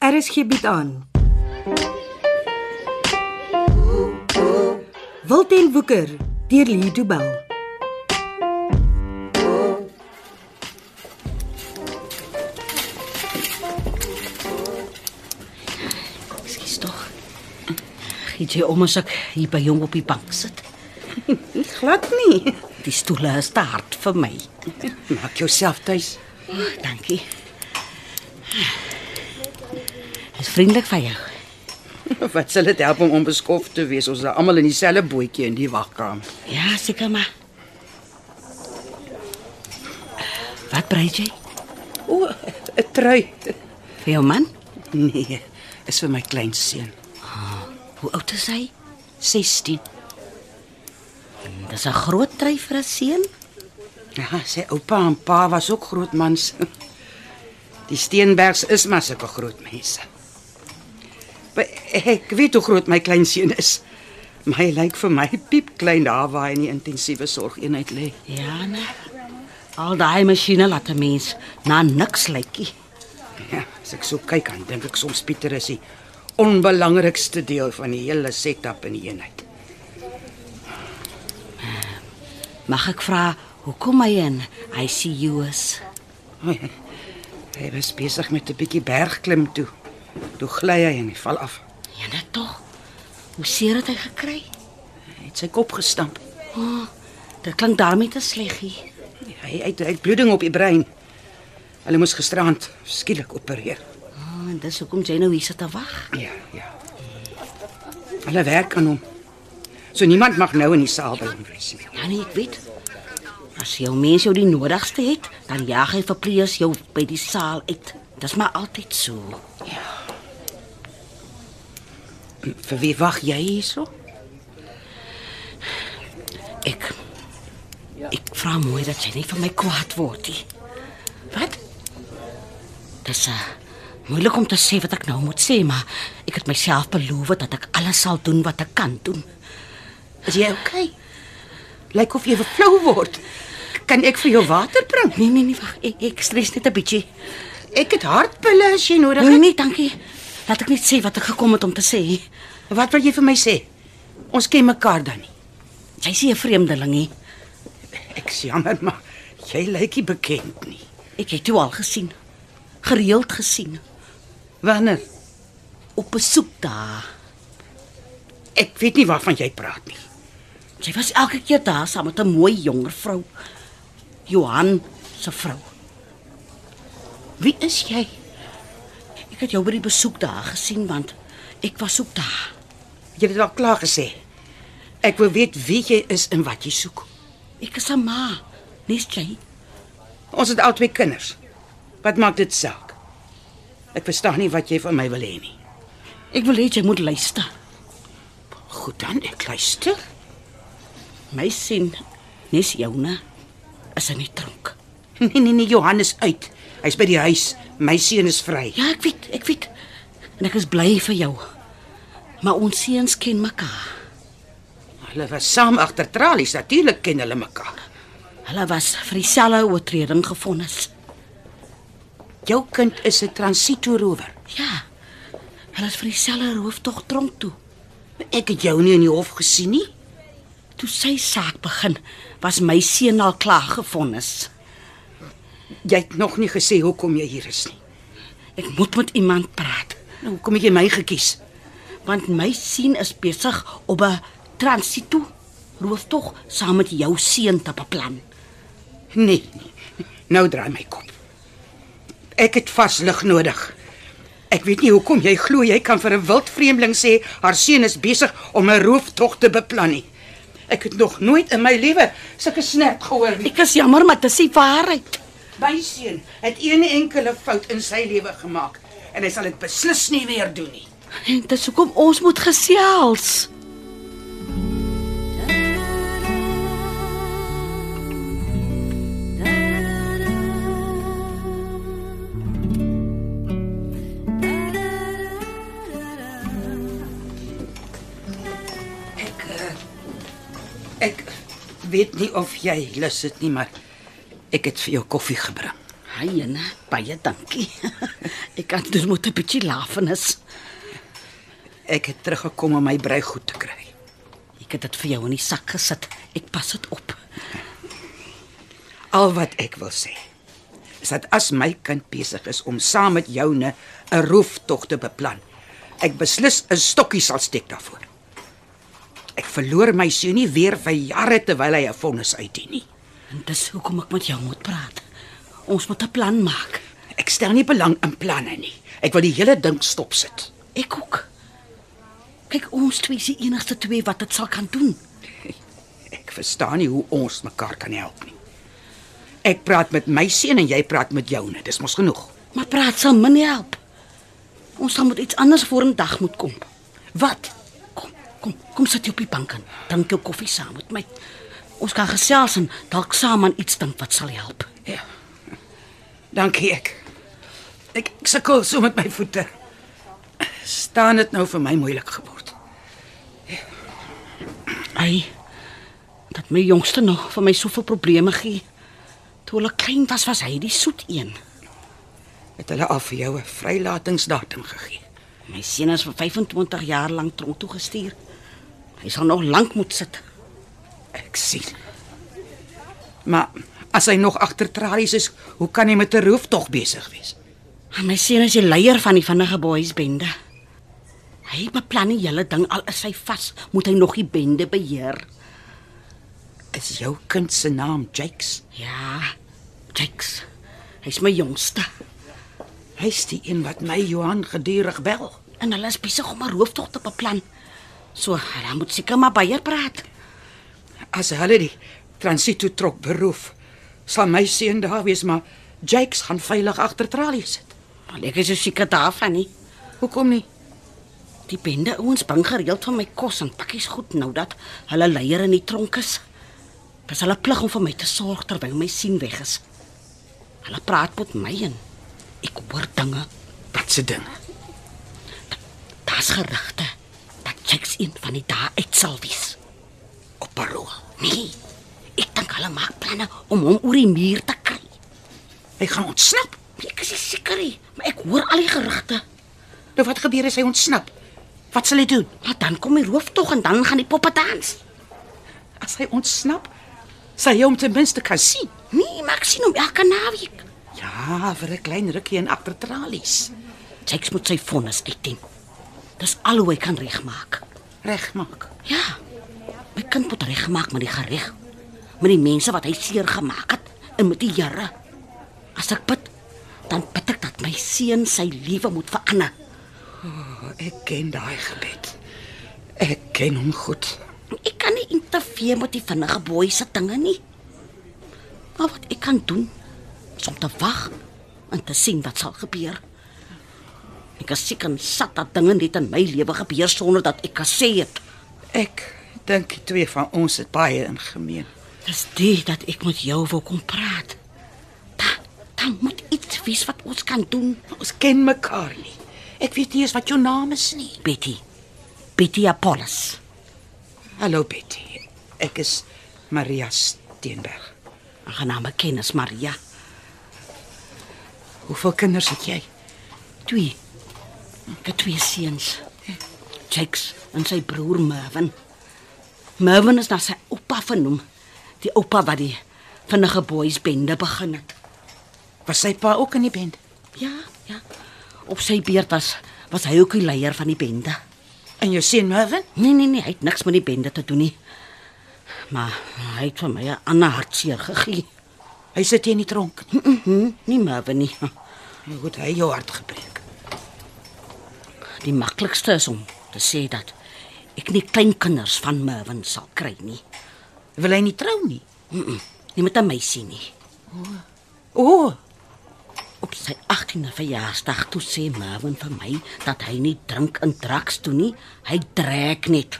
RSG bied Er aan. Wilten Woeker deur Lee Du Bell. Ekskuus tog. Giet jy om as ek hier by jong op die bank sit? Glad nie. Die stoele is te hard vir my. Maak jouself tuis. Dankie. Is vriendelik van jou. Wat sal dit help om onbeskof te wees? Ons is almal in dieselfde bootjie in die wagkamer. Ja, seker maar. Wat brei jy O, 'n trui. vir jou man? Nee, is vir my kleinseun. Hoe oud is hy? 16. Dis 'n groot trui vir 'n seun. Ja, sy oupa en pa was ook groot mans. Die Steenbergs is maar sulke groot mense. Maar ek weet hoe groot my kleinseun is. Maar hy lyk vir my piep klein daar waar hy in die intensiewe sorgeenheid lê. Ja, nee. Al daai masjiene laat 'n mens na niks lykie. Ja, as ek so kyk aan, dink ek soms Pieter is die onbelangrikste deel van die hele setup in die eenheid. Mag ek vra hoekom hy in ICU is? O, ja. Hy was besig met 'n bietjie bergklim toe. Toe gly hy en hy val af. Ja, net tog. Hoe seer het hy gekry? Hy het sy kop gestamp. Oh, dit klink daarmee te sleggie. Hy uit uit bloeding op die brein. Hulle moes gisterand skielik opereer. Oh, en dis hoekom jy nou hier sit te wag. Ja, ja. Hulle werk aan hom. So niemand mag nou in die saal by hom wees nie. Ja nee, ek weet. As jou mens jou die nodigste het, dan jaag hy verpleegers jou by die saal uit. Dis maar altyd so. Vir wie wag jy hierso? Ek ek vra mooi dat jy nie van my kwaad word nie. Wat? Dis uh, moeilik om te sê wat ek nou moet sê, maar ek het myself beloof dat ek alles sal doen wat ek kan doen. Is jy okay? Lyk of jy weer flou word. Kan ek vir jou water bring? Nee nee nee, wag, ek, ek stres net 'n bietjie. Ek het hartpille as jy nodig Nee het. nee, dankie. Laat ek net sê wat ek gekom het om te sê. Wat wil jy vir my sê? Ons ken mekaar dan nie. Jy's nie 'n vreemdeling nie. Ek is jammer, maar jy lyk nie bekend nie. Ek het jou al gesien. Gereeld gesien Wanneer? op besoek daar. Ek weet nie waarvan jy praat nie. Sy was elke keer daar saam met 'n mooi jonger vrou. Johan se vrou. Wie is jy? Ek het jou by die besoek daar gesien want ek was ook daar. Jy het dit al klaar gesê. Ek wil weet wie jy is en wat jy soek. Ek is 'n ma, nes jy? Ons het al twee kinders. Wat maak dit saak? Ek verstaan nie wat jy van my wil hê nie. Ek wil hê jy moet luister. Goed dan, ek luister. My sien, nes joune is in die tronk. Nee nee nee, Johannes uit. Hy's by die huis. My seun is vry. Ja, ek weet, ek weet. En ek is bly vir jou. Maar ons seuns ken mekaar. Hulle was saam agter tralies. Natuurlik ken hulle mekaar. Hulle was vir dieselfde oortreding gefonnis. Jou kind is 'n transitorower. Ja. Hulle is vir dieselfde rooftog tronk toe. Ek het jou nie in die hof gesien nie. Toe sy saak begin, was my seun al klaar gefonnis. Jy het nog nie gesê hoekom jy hier is nie. Ek moet met iemand praat. Nou, hoekom het jy my gekies? want my seun is besig op 'n transito rooftog saam met jou seun te beplan. Nee, nee. Nou draai my kop. Ek het vas lig nodig. Ek weet nie hoekom jy glo jy kan vir 'n wild vreemdeling sê haar seun is besig om 'n rooftog te beplan nie. Ek het nog nooit in my lewe sulke snerp gehoor nie. Ek is jammer, maar dit is die waarheid. My seun het een enkele fout in sy lewe gemaak en hy sal dit beslis nie weer doen nie. En dit is hoekom ons moet gesels. Ek eh, ek weet nie of jy lus het nie, maar ek het vir jou koffie gebring. Ai, Jana, baie dankie. Ek kan dit moet 'n bietjie lafenis. Ek het teruggekom om my brei goed te kry. Ek het dit vir jou in die sak gesit. Ek pas dit op. Al wat ek wil sê is dat as my kind besig is om saam met joune 'n rooftog te beplan, ek beslis 'n stokkie sal steek daarvoor. Ek verloor my seun nie weer vir jare terwyl hy 'n vonnis uitdien nie. En dis hoekom ek met jou moet praat. Ons moet 'n plan maak. Ek stel nie belang in planne nie. Ek wil die hele ding stopsit. Ek ook. Kyk, ons twee is die enigste twee wat dit sal kan doen. Ek verstaan nie hoe ons mekaar kan help nie. Ek praat met my seun en jy praat met joune. Dis mos genoeg. Maar praat sal my nie help. Ons sal met iets anders voor 'n dag moet kom. Wat? Kom, kom, kom sit jy op die bank en drink jou koffie saam met my. Ons kan gesels en dalk saam aan iets dink wat sal help. Ja. Dankie ek. Ek, ek sukkel so met my voete. Staan dit nou vir my moeilik geword. Ai. Dat my jongste nog vir my soveel probleme gee. Toe hulle klein was, was hy die soet een. Het hulle al vir jou 'n vrylatingsdatum gegee? My seun is vir 25 jaar lank tronk toe gestuur. Hy sal nog lank moet sit. Ek sien. Maar as hy nog agter tralies is, hoe kan hy met 'n rooftog besig wees? En Ah, my seun is die leier van die vinnige boys bende. Hy beplan die hele ding al is hy vas, moet hy nog die bende beheer. Is jou kind se naam Jakes? Ja. Jakes. Hy's my jongste Hy's die een wat my Johan gedurig bel. en hulle is besig om 'n rooftog te beplan. So, hulle moet seker maar baie praat. As hulle die transito trok beroof, sal my seun daar wees, maar Jakes gaan veilig agter tralies sit. Maar ek is so seker daarvan nie. Hoekom nie? Die bende ouens bring gereeld van my kos en pakkies goed nou dat hulle leier in die tronk is. Dis hulle plig om vir my te sorg terwyl my seun weg is. Hulle praat met my en ek hoor dinge. Wat se ding? Daar's gerugte dat Jakes een van die dae uit sal wees. Op parol. Nee, ek dink hulle maak planne om hom oor die muur te kry. Hy gaan ontsnap. Ek is nie seker nie, maar ek hoor al die gerugte. Nou wat gebeur as hy ontsnap? Wat sal hy doen? Maar dan kom die rooftog en dan gaan die poppe dans. As hy ontsnap, sal jy hom ten minste kan sien. Nee, maar ek sien hom elke naweek. Ja, vir 'n klein rukkie en agter tralies. Jakes moet sy vonnis uitdien. Dis al hoe hy kan regmaak. Regmaak. Ja. My kind moet regmaak met die gereg. Met die mense wat hy seer gemaak het en met die Here. As ek bid, dan bid ek dat my seun sy lewe moet verander. Oh, ek ken daai gebed. Ek ken hom goed. Ek kan nie interfere met die vinnige boei se dinge nie. Maar wat ek kan doen, is om te wag en te sien wat sal gebeur. Ek is seker en sat dat dinge net in my lewe gebeur sonder dat ek gesê het. Ek dink die twee van ons het baie in gemeen. Dis dit dat ek met jou wou kom praat. Da, dan moet iets wees wat ons kan doen, Ons ken mekaar nie. Ek weet nie eens wat jou naam is nie. Betty. Betty Apollos. Hallo Betty. Ek is Maria Steenberg. Aangename kennis, Maria. Hoeveel kinders het jy? Twee. Ek het twee seuns. Jakes en sy broer Mervin. Mervin is na sy oupa vernoem. Die oupa wat die vinnige boys bende begin het. Was sy pa ook in die band? Ja, ja. Op sy beurt was was hy ook die leier van die bende. En jou seun Mervin? Nee nee nee, hy het niks met die bende te doen nie. Maar hy het vir my 'n ander hartseer gegee. Hy sit hier in die tronk. Hm, Mm -hmm, nie Mervin nie. Nou goed, hy het jou hart gebreek. Die maklikste is om te sê dat ek nie kleinkinders van Mervin sal kry nie. Wil hy nie trou nie? Mm -mm, nie met 'n meisie nie. O, oh, Op sy 18de verjaarsdag toe sê Mervin vir my dat hy nie drink en draks doen nie, hy trek net.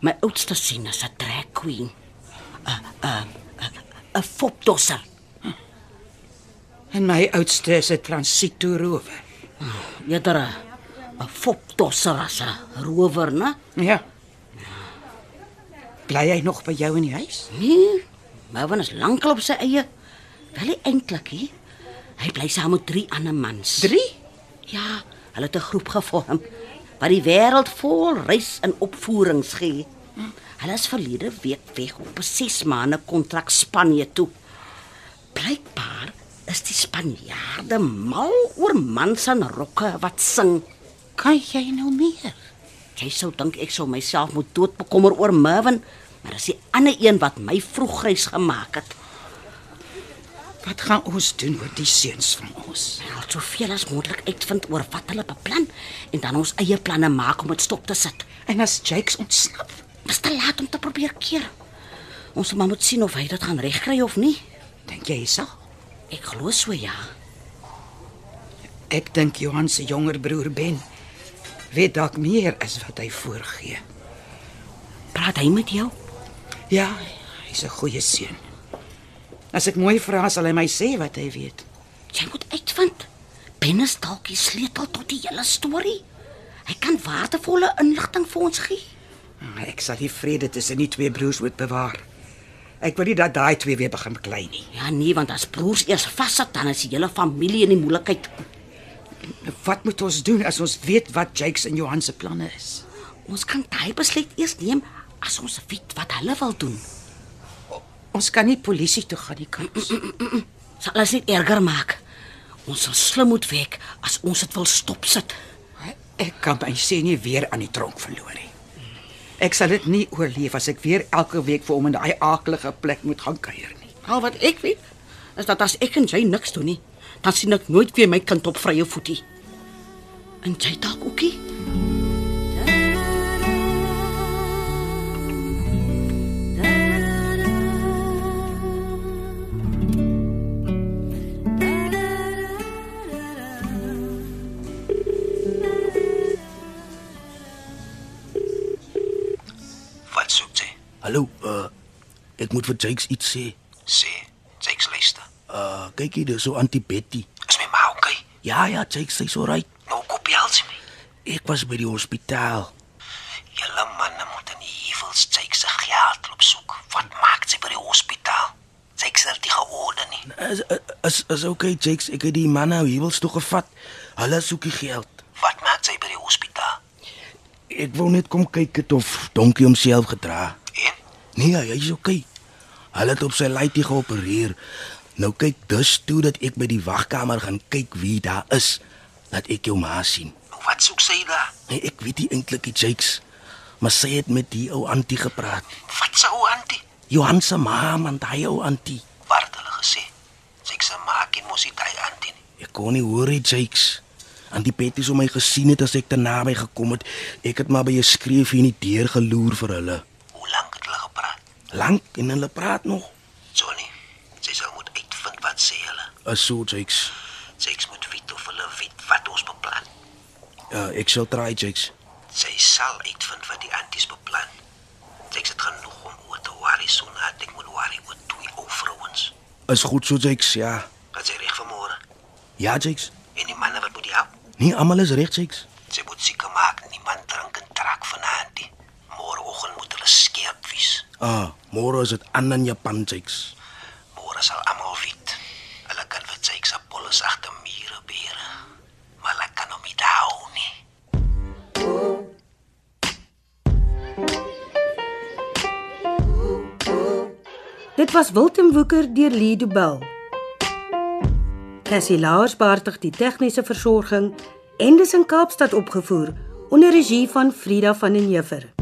My oudste seun is 'n trek queen. 'n 'n 'n fopdosser. en my oudste is 'n transito rower. Eerder 'n 'n fopdosser as 'n rower, né? Ja. Bly hy nog by jou in die huis? Nee, Mervin is lankal op sy eie. Wel nie eintlik, hè? Hy bly saam met drie ander mans. 3 Ja, hulle het 'n groep gevorm wat die wêreld vol reis en opvoerings gee. Hulle is verlede week weg op 'n 6 maande kontrak Spanje toe. Blykbaar is die Spanjaarde mal oor mans en rokke wat sing. Kan jy nou meer? Jy sou dink ek sou myself moet doodbekommer oor Mervin, maar dis die ander een wat my vroeg grys gemaak het. Wat gaan ons doen met die seuns van ons? Hy wil soveel as moontlik uitvind oor wat hulle beplan en dan ons eie planne maak om dit stop te sit. En as Jakes ontsnap, Dis te laat om te probeer keer. Ons moet maar moet sien of hy dit gaan regkry of nie. dink jy hy sal? Ek glo so ja. Ek dink Johan se jonger broer Ben weet dalk meer as wat hy voorgee. Praat hy met jou? Ja, hy's 'n goeie seun. As ek mooi vra, sal hy my sê wat hy weet. Jy moet uitvind. Ben is dalk die sleutel tot die hele storie. Hy kan waardevolle inligting vir ons gee. Ek sal die vrede tussen die twee broers moet bewaar. Ek wil nie dat daai twee weer begin beklei nie. Ja nee, want as broers eers vassit, dan is die hele familie in die moeilikheid. Wat moet ons doen as ons weet wat Jakes en Johan se planne is? Ons kan daai besluit eers neem as ons weet wat hulle wil doen. Ons kan nie polisie toe gaan nie, kan ons? Sal ons net erger maak. Ons sal slim moet werk as ons dit wil stopsit. Ek kan my sien nie weer aan die tronk verloor nie. Ek sal dit nie oorleef as ek weer elke week vir hom in daai aaklige plek moet gaan kuier nie. Al Nou, wat ek weet is dat as ek en jy niks doen nie, dan sien ek nooit weer my kind op vrye voetie. En jy dalk ookie? Wat soek jy? Hallo, uh ek moet vir Jakes iets sê. Sê, Jakes luister. Uh kyk hier, dis so anti-Betty. Is my ma okay? Ja ja, Jakes, sy's alright. Nou koop jy alsi my. Ek was by die hospitaal. Julle manne moet in die heuwels Jakes se geld loop soek. Wat maak sy by die hospitaal? Jakes het dit georde nie. Is is is okay, Jakes. Ek het die man nou huwels toe gevat. Hulle soek die geld. Wat maak sy by die hospitaal? Ek wou net kom kyk het of Donkie homself gedra. En Nee, hy's okay. Hulle het op sy laaitjie geopereer. Nou kyk dus toe dat ek by die wagkamer gaan kyk wie daar is, dat ek jou ma sien. nou wat soek sy daar? Nee, ek weet nie eintlik die Jakes, maar sy het met die ou antie gepraat. Wat sou antie? Johan se ma man daai ou antie. Wat het hulle gesê? Jakes se ma ken mos nie daai antie nie. Ek kon nie hoor hy Jakes. Antie Betty sou my gesien het as ek te naby gekom het. Ek het maar by 'n skreef hier in die deur geloer vir hulle. Hoe lank het hulle gepraat? Lank en hulle praat nog. Johnny, sy sal moet uitvind wat sê hulle. Is so Jakes. Jakes moet weet of hulle weet wat ons beplan. Ja, ek sal try Jakes. Sy sal uitvind wat die anties beplan. Ek het genoeg om oor te worry sonder dat ek moet worry oor twee ou vrouens. Is goed so Jakes, ja. Wat sy reg vanmôre Ja Jakes. en die manne wat moet help. Nie almal is reg Jakes. Sy moet seker maak niemand drink en trak vanaand nie. Môreoggend moet hulle skerp wees. Ah, môre is dit aan in Japan Jakes. Môre sal almal weet. Hulle kan vir sy se polis agter mure beere. Maar hulle kan hom nie hou nie. Dit was Wilten Woeker deur Lee Du Bell. Cassie Lars beheer die tegniese versorging en dis in Kaapstad opgevoer onder regie van Frida van den Heever.